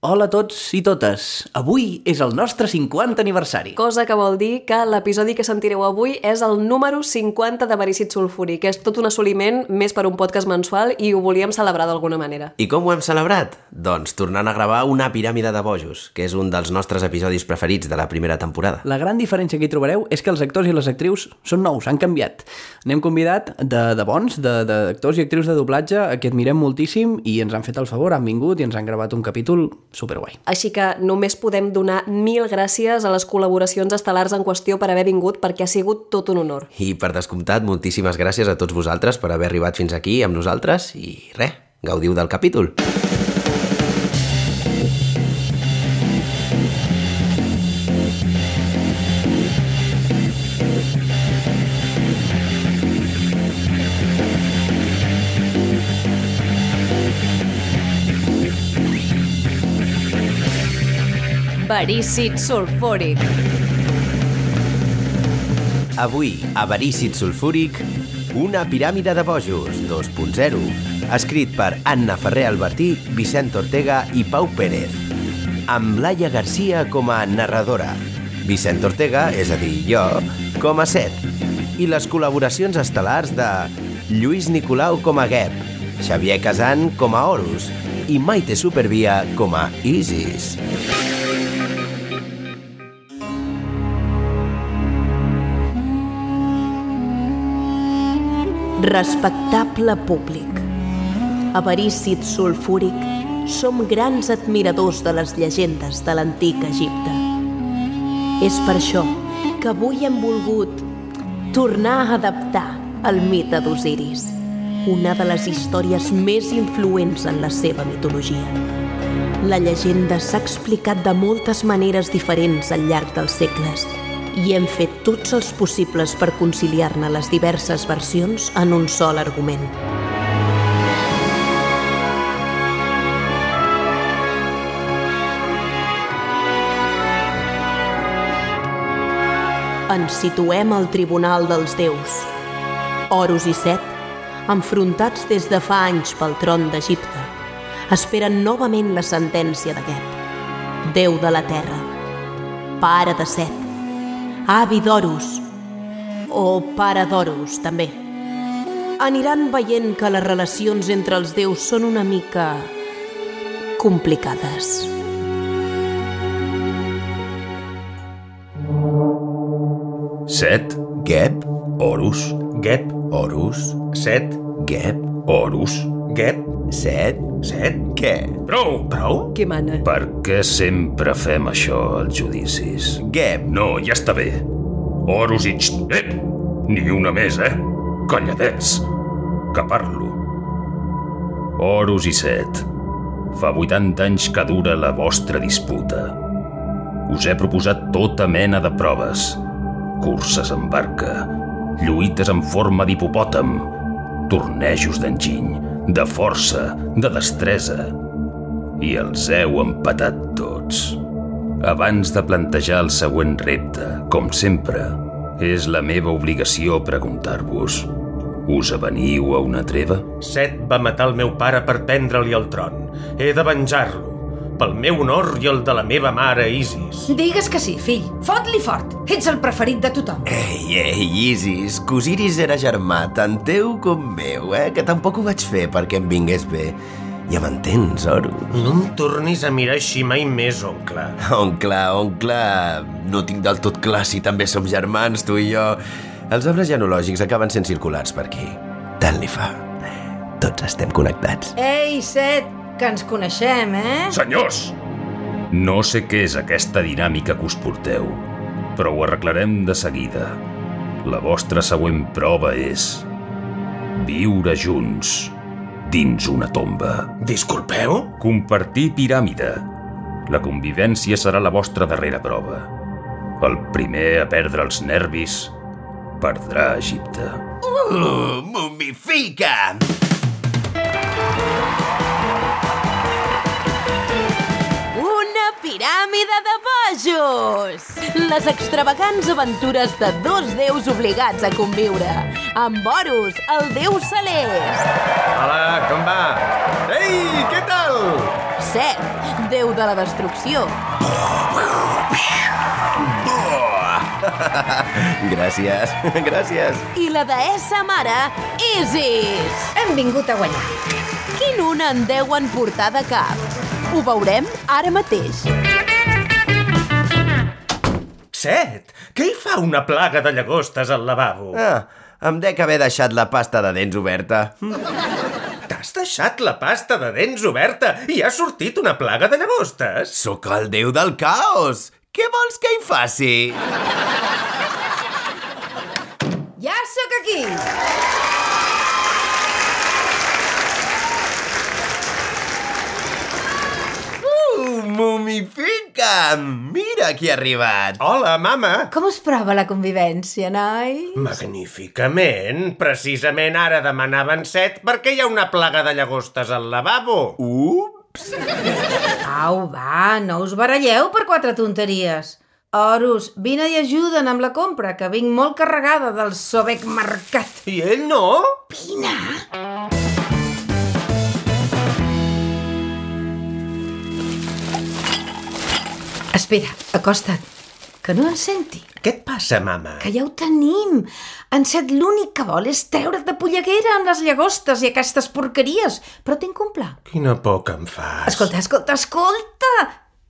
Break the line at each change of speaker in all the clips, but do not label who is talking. Hola a tots i totes. Avui és el nostre 50 aniversari.
Cosa que vol dir que l'episodi que sentireu avui és el número 50 de Verícid Sulfúric. És tot un assoliment més per un podcast mensual i ho volíem celebrar d'alguna manera.
I com ho hem celebrat? Doncs tornant a gravar una piràmide de bojos, que és un dels nostres episodis preferits de la primera temporada.
La gran diferència que hi trobareu és que els actors i les actrius són nous, han canviat. N'hem convidat de, de bons, de- d'actors i actrius de doblatge, a qui admirem moltíssim i ens han fet el favor, han vingut i ens han gravat un capítol superguai.
Així que només podem donar mil gràcies a les col·laboracions estel·lars en qüestió per haver vingut perquè ha sigut tot un honor.
I per descomptat, moltíssimes gràcies a tots vosaltres per haver arribat fins aquí amb nosaltres i res, gaudiu del capítol.
Verícid Sulfúric.
Avui, Avarícid Sulfúric, una piràmide de bojos 2.0, escrit per Anna Ferrer Albertí, Vicent Ortega i Pau Pérez, amb Laia Garcia com a narradora, Vicent Ortega, és a dir, jo, com a set, i les col·laboracions estel·lars de Lluís Nicolau com a Gep, Xavier Casan com a Horus i Maite Supervia com a Isis.
Respectable públic. Avarícid sulfúric, som grans admiradors de les llegendes de l'antic Egipte. És per això que avui hem volgut tornar a adaptar el mite d'Osiris, una de les històries més influents en la seva mitologia. La llegenda s'ha explicat de moltes maneres diferents al llarg dels segles i hem fet tots els possibles per conciliar-ne les diverses versions en un sol argument. Ens situem al Tribunal dels Déus. Horus i Set, enfrontats des de fa anys pel tron d'Egipte, esperen novament la sentència de Geb, Déu de la Terra, Pare de Set, Avi d'Horus, o Pare d'Horus, també. Aniran veient que les relacions entre els déus són una mica... complicades.
Set,
Gep, Horus,
Gep,
Horus,
Set,
Gep,
Horus, Gep,
Set,
Set...
què?
Prou!
Prou?
Qui mana?
Per què sempre fem això als judicis?
Gep,
No, ja està bé. Horus i... Xt, Ep! Ni una més, eh? Calladets! Que parlo. Horus i Set, fa 80 anys que dura la vostra disputa. Us he proposat tota mena de proves. Curses en barca, lluites en forma d'hipopòtam, tornejos d'enginy, de força, de destresa... I els heu empatat tots. Abans de plantejar el següent repte, com sempre, és la meva obligació preguntar-vos. Us aveniu a una treva?
Set va matar el meu pare per prendre-li el tron. He de venjar-lo, pel meu honor i el de la meva mare Isis.
Digues que sí, fill. Fot-li fort. Ets el preferit de tothom.
Ei, ei, Isis, que Osiris era germà, tant teu com meu, eh? Que tampoc ho vaig fer perquè em vingués bé. Ja m'entens, Horus?
No em tornis a mirar així mai més, oncle.
Oncle, oncle, no tinc del tot clar si també som germans, tu i jo. Els arbres genològics acaben sent circulars per aquí. Tant li fa. Tots estem connectats.
Ei, Set, que ens coneixem, eh?
Senyors! No sé què és aquesta dinàmica que us porteu, però ho arreglarem de seguida. La vostra següent prova és... viure junts dins una tomba.
Disculpeu?
Compartir piràmide. La convivència serà la vostra darrera prova. El primer a perdre els nervis perdrà Egipte.
Uh, mumifica!
Una piràmide de bojos! Les extravagants aventures de dos déus obligats a conviure. Amb Horus, el déu celest.
Hola, com va? Ei, què tal?
Set, déu de la destrucció.
Oh! Gràcies, gràcies.
I la deessa mare, Isis.
Hem vingut a guanyar.
Quin una en deuen portar de cap? Ho veurem ara mateix.
Set! Què hi fa una plaga de llagostes al lavabo?
Ah, em dec haver deixat la pasta de dents oberta.
T'has deixat la pasta de dents oberta i ha sortit una plaga de llagostes!
Sóc el déu del caos! Què vols que hi faci?
Ja sóc aquí!
Uh, mumifica'm! Mira qui ha arribat!
Hola, mama!
Com us prova la convivència, noi?
Magníficament! Precisament ara demanaven set perquè hi ha una plaga de llagostes al lavabo.
Uh,
Au, va, no us baralleu per quatre tonteries. Horus, vine i ajuden amb la compra, que vinc molt carregada del Sobec Mercat.
I ell no?
Espera, acosta't, que no en senti.
Què et passa, mama?
Que ja ho tenim. En Set l'únic que vol és treure't de polleguera amb les llagostes i aquestes porqueries. Però tinc un pla.
Quina por que em fas.
Escolta, escolta, escolta!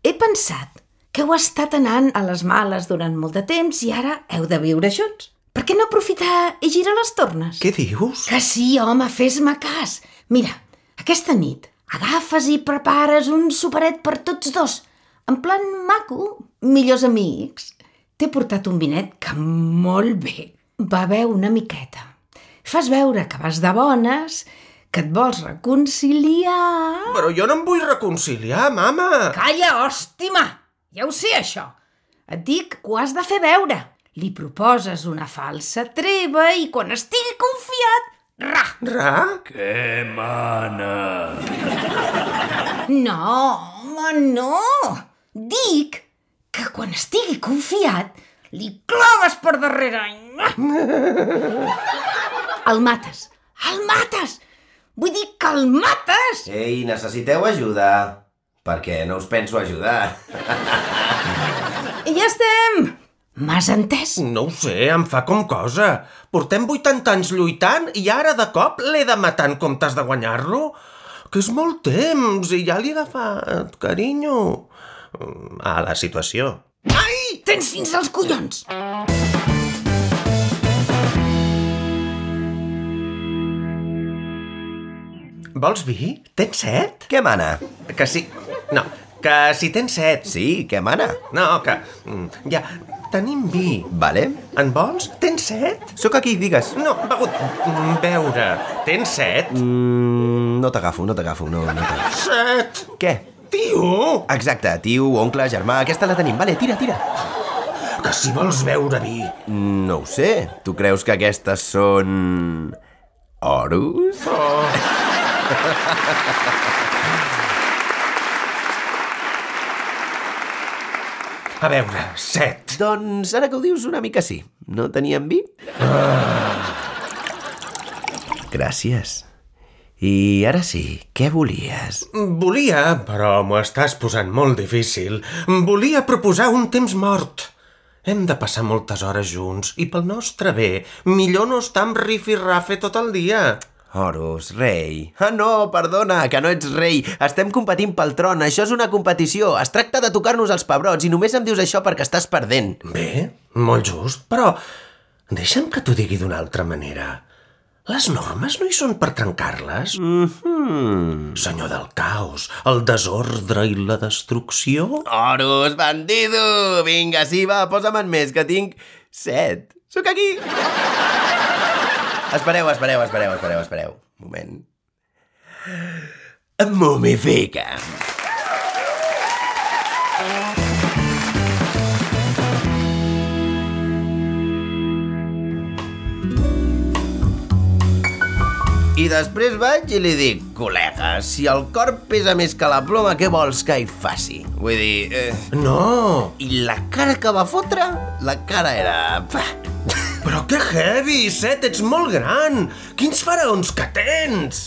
He pensat que heu estat anant a les males durant molt de temps i ara heu de viure junts. Per què no aprofitar i girar les tornes?
Què dius?
Que sí, home, fes-me cas. Mira, aquesta nit agafes i prepares un superet per tots dos. En plan maco, millors amics. T'he portat un vinet que molt bé. Beveu una miqueta. Fas veure que vas de bones, que et vols reconciliar...
Però jo no em vull reconciliar, mama.
Calla, hòstima! Ja ho sé, això. Et dic que ho has de fer veure. Li proposes una falsa treva i quan estigui confiat... Ra!
Ra?
No, home, no! Dic que quan estigui confiat li claves per darrere. El mates! El mates! Vull dir que el mates!
Ei, necessiteu ajuda? Perquè no us penso ajudar.
I ja estem! M'has entès?
No ho sé, em fa com cosa. Portem 80 anys lluitant i ara de cop l'he de matar en comptes de guanyar-lo? Que és molt temps i ja li he agafat, carinyo. Mm, A la situació. Ai!
Tens fins als collons!
Vols vi? Tens set?
Què mana?
Eh, Que sí... No, que si tens set.
Sí, què mana?
No, que... mm, Ja, tenim vi.
Vale.
En vols? Tens set?
Sóc aquí, digues.
No, begut... mm, Beure. Tens set?
Mm, no t'agafo, no t'agafo, no, no t'agafo.
Set!
Què?
Tio!
Exacte, tio, oncle, germà, aquesta la tenim. Vale, tira, tira. Mm,
Que si vols beure vi,
No ho sé. Tu creus que aquestes són... Horus?
A veure, set.
Doncs ara que ho dius una mica sí. No teníem vi? Gràcies. I ara sí, què volies?
Volia, però m'ho estàs posant molt difícil, volia proposar un temps mort. Hem de passar moltes hores junts i pel nostre bé, millor no estar amb rifirrafe tot el dia.
Horus, rei. Ah, no, perdona, que no ets rei. Estem competint pel tron, això és una competició. Es tracta de tocar-nos els pebrots i només em dius això perquè estàs perdent.
Bé, molt just, però deixa'm que t'ho digui d'una altra manera. Les normes no hi són per trencar-les? Mm
Mhm.
-hmm. Senyor del caos, el desordre i la destrucció?
Horus, bandido! Vinga, sí, va, posa'm en més, que tinc set. Sóc aquí! Espereu, espereu, espereu, espereu, espereu. Un moment. Mumifica'm. I després vaig i li dic, col·lega, si el cor pesa més que la ploma, què vols que hi faci? Vull dir... Eh...
No!
I la cara que va fotre, la cara era... Pah.
Però que heavy, Set, ets molt gran! Quins faraons que tens!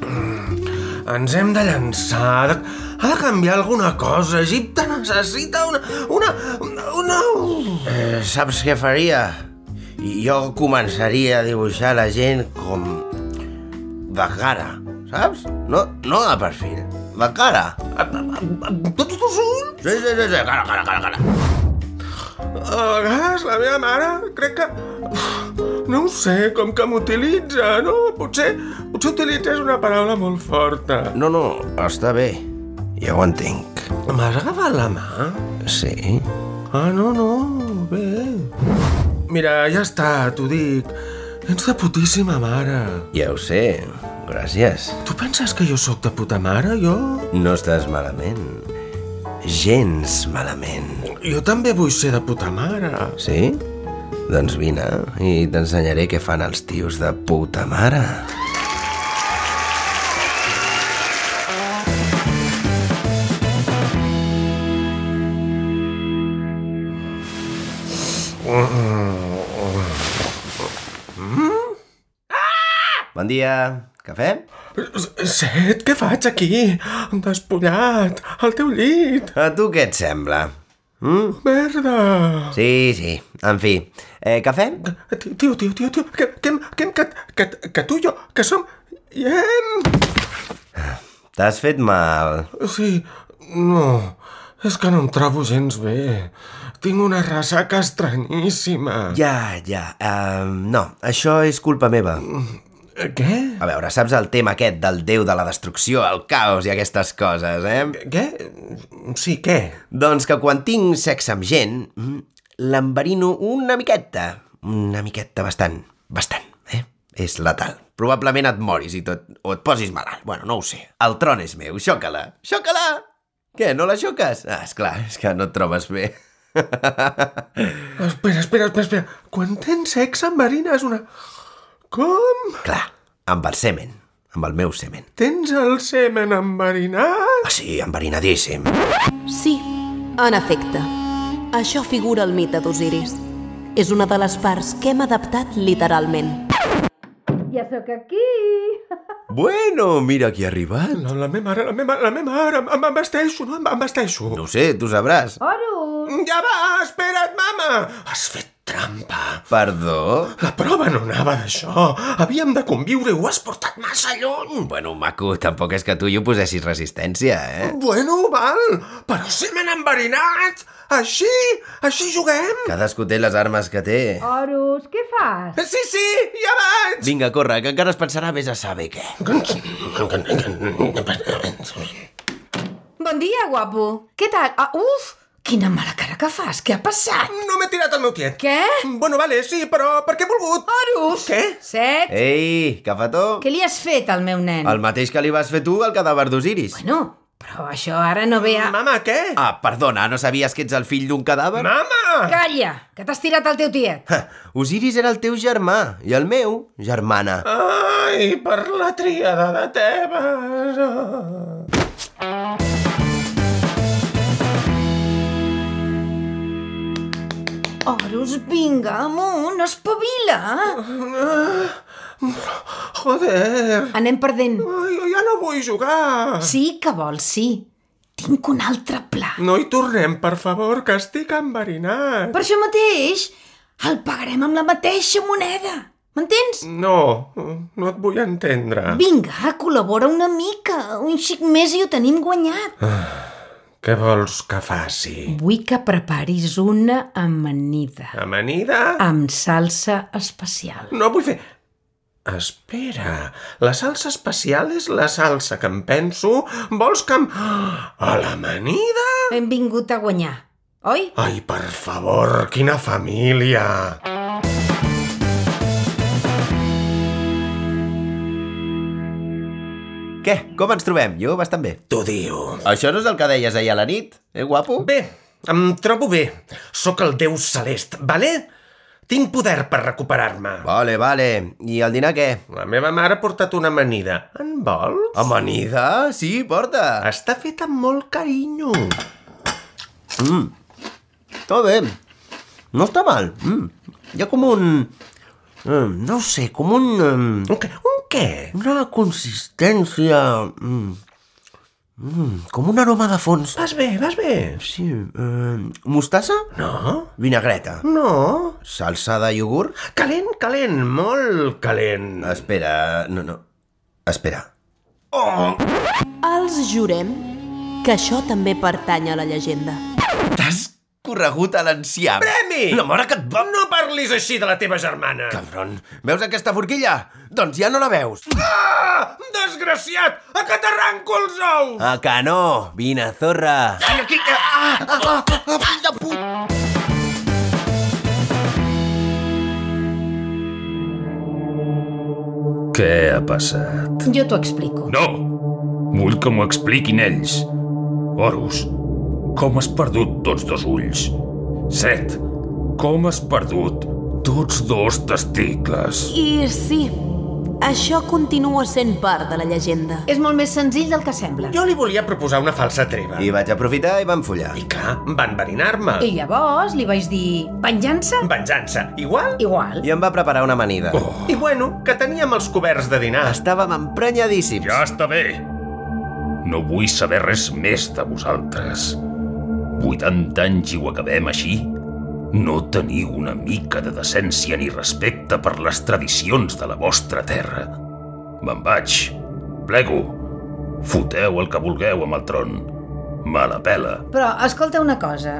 Mm, ens hem de llançar... Ha de canviar alguna cosa. Egipte necessita una... una... una...
Eh, saps què faria? Jo començaria a dibuixar la gent com... de cara, saps? No, no de perfil, de cara.
Tots dos ulls?
Sí, sí, sí, sí, cara, cara, cara, cara.
A vegades Oh, la meva mare crec que... No ho sé, com que m'utilitza, no? Potser, potser utilitzes una paraula molt forta.
No, no, està bé. Ja ho entenc.
M'has agafat la mà?
Sí.
Ah, no, no, bé. Mira, ja està, t'ho dic. Ets de putíssima mare.
Ja ho sé. Gràcies.
Tu penses que jo sóc de puta mare, jo?
No estàs malament. Gens malament.
Jo també vull ser de puta mare.
Sí? Doncs vine i t'ensenyaré què fan els tios de puta mare. Mm-hmm. Bon dia. Cafè?
Set, què faig aquí? Despullat, al teu llit.
A tu què et sembla?
Merda.
Sí, sí. En fi. Eh, cafè?
Tio, tio, tio, tio, que, que, que, que, que, que tu i jo, que som... I hem...
T'has fet mal.
Sí, no, és que no em trobo gens bé. Tinc una ressaca estranyíssima.
Ja, ja. Uh, no, això és culpa meva.
Eh, Què?
A veure, saps el tema aquest del déu de la destrucció, el caos i aquestes coses, eh?
Què? Sí, què?
Doncs que quan tinc sexe amb gent, mm, l'enverino una miqueta. Una miqueta bastant, bastant, eh? És letal. Probablement et moris i tot, o et posis malalt. Bueno, no ho sé. El tron és meu, xoca-la, xoca-la! Què, no la xoques? Ah, esclar, és que no et trobes bé.
Espera, espera, espera, espera. Quan tens sexe amb Marina és una... Com?
Clar, amb el semen, amb el meu semen.
Tens el semen enverinat?
Ah, sí, enverinadíssim.
Sí, en efecte. Això figura el mite d'Osiris. És una de les parts que hem adaptat literalment.
Ja sóc aquí!
Bueno, mira qui ha arribat.
La, la meva mare, la meva, la meva mare, em- em vesteixo, no? Em, em vesteixo.
No ho sé, tu sabràs.
Horus!
Ja va, espera't, mama! Has fet trampa.
Perdó?
La prova no anava d'això. Havíem de conviure, ho has portat massa lluny.
Bueno, maco, tampoc és que tu i ho posessis resistència, eh?
Bueno, val, però semen enverinat! Així, així juguem!
Cadascú té les armes que té.
Horus, què fas?
Sí, sí, ja vaig!
Vinga, corre, que encara es pensarà més a saber què.
Bon dia, guapo. Què tal? Ah, uf, quina mala cara que fas. Què ha passat?
No m'he tirat el meu tiet.
Què?
Bueno, vale, sí, però perquè he volgut.
Horus!
Què?
Eh.
Set?
Ei, cafetó!
Què li has fet al meu nen?
El mateix que li vas fer tu al cadàver d'Osiris.
Bueno, però això ara no ve a...
Mama, què?
Ah, perdona, no sabies que ets el fill d'un cadàver?
Mama!
Calla, que t'has tirat al teu tiet.
Ha, Osiris era el teu germà i el meu, germana.
Ah. Ai, per la tríada de Tebes.
Horus, vinga, amunt, espavila.
Joder,
Anem perdent.
ai, jo ja no vull jugar.
Sí que vols, sí. Tinc un altre pla.
No hi tornem, per favor, que estic enverinat.
Per això mateix, el pagarem amb la mateixa moneda. M'entens?
No, no et vull entendre.
Vinga, col·labora una mica. Un xic més i ho tenim guanyat.
Què vols que faci?
Vull que preparis una amanida
Amanida?
amb salsa especial.
No vull fer... Espera, la salsa especial és la salsa que em penso. Vols que em... A l'amanida?
Hem vingut a guanyar, oi?
Ai, per favor, quina família!
Què? Com ens trobem? Jo bastant bé.
T'ho diu.
Això no és el que deies ahir a la nit? Eh, guapo?
Bé, em trobo bé. Sóc el déu celest, vale? Tinc poder per recuperar-me.
Vale, vale. I el dinar què?
La meva mare ha portat una amanida. En vols?
Amanida? Sí, porta.
Està feta amb molt carinyo.
Està bé. No està mal. Mm. Hi ha com un... Mm, no ho sé, com un... mm,
Un què? Un què?
Una consistència... Mm, Mm, com un aroma de fons.
Vas bé, vas bé.
Sí, eh, mostassa? Mm.
No?
Vinagreta.
No?
Salsa de iogurt?
Calent, calent, molt calent.
Espera, no, no. Espera.
Els jurem que això també pertany a la llegenda.
T'has corregut a l'enciam.
Premi!
La mare que et va...
No parlis així de la teva germana.
Cabron, veus aquesta forquilla? Doncs ja no la veus.
Ah! Desgraciat! A que t'arranco els ous!
A Ah, que no! Vine, zorra!
Ai, aquí... Ah, ah, ah, ah, ah, fill de puta!
Què ha passat?
Jo t'ho explico.
No! Vull que m'ho expliquin ells. Horus, com has perdut tots dos ulls? Set, com has perdut tots dos testicles?
I sí, això continua sent part de la llegenda.
És molt més senzill del que sembla.
Jo li volia proposar una falsa treva.
I vaig aprofitar i vam follar.
I clar, va enverinar-me.
I llavors li vaig dir... Venjança?
Venjança. Igual?
Igual.
I em va preparar una amanida. Oh.
I bueno, que teníem els coberts de dinar.
Estàvem emprenyadíssims.
Ja està bé! No vull saber res més de vosaltres. 80 anys i ho acabem així? No teniu una mica de decència ni respecte per les tradicions de la vostra terra. Me'n vaig. Plego. Foteu el que vulgueu amb el tron. Me la pela.
Però, escolta una cosa.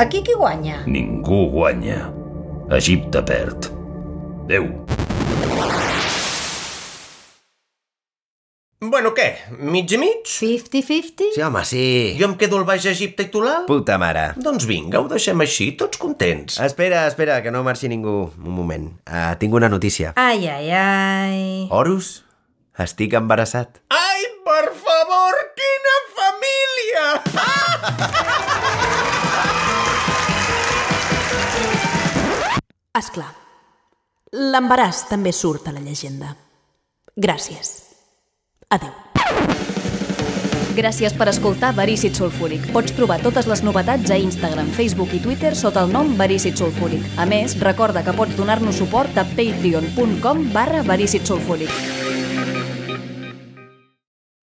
Aquí qui guanya?
Ningú guanya. Egipte perd. Déu.
Bueno, què? Mig i mig?
50-50?
Sí, home, sí.
Jo em quedo al Baix Egipte i tu l'alt?
Puta mare.
Doncs vinga, ho deixem així, tots contents.
Espera, espera, que no marxi ningú. Un moment. Uh, tinc una notícia.
Ai, ai, ai...
Horus, estic embarassat.
Ai, per favor, quina família!
És clar. L'embaràs també surt a la llegenda. Gràcies. Adeu.
Gràcies per escoltar Verícit Sulfúric. Pots trobar totes les novetats a Instagram, Facebook i Twitter sota el nom Verícit Sulfúric. A més, recorda que pots donar-nos suport a patreon.com barra Verícit Sulfúric.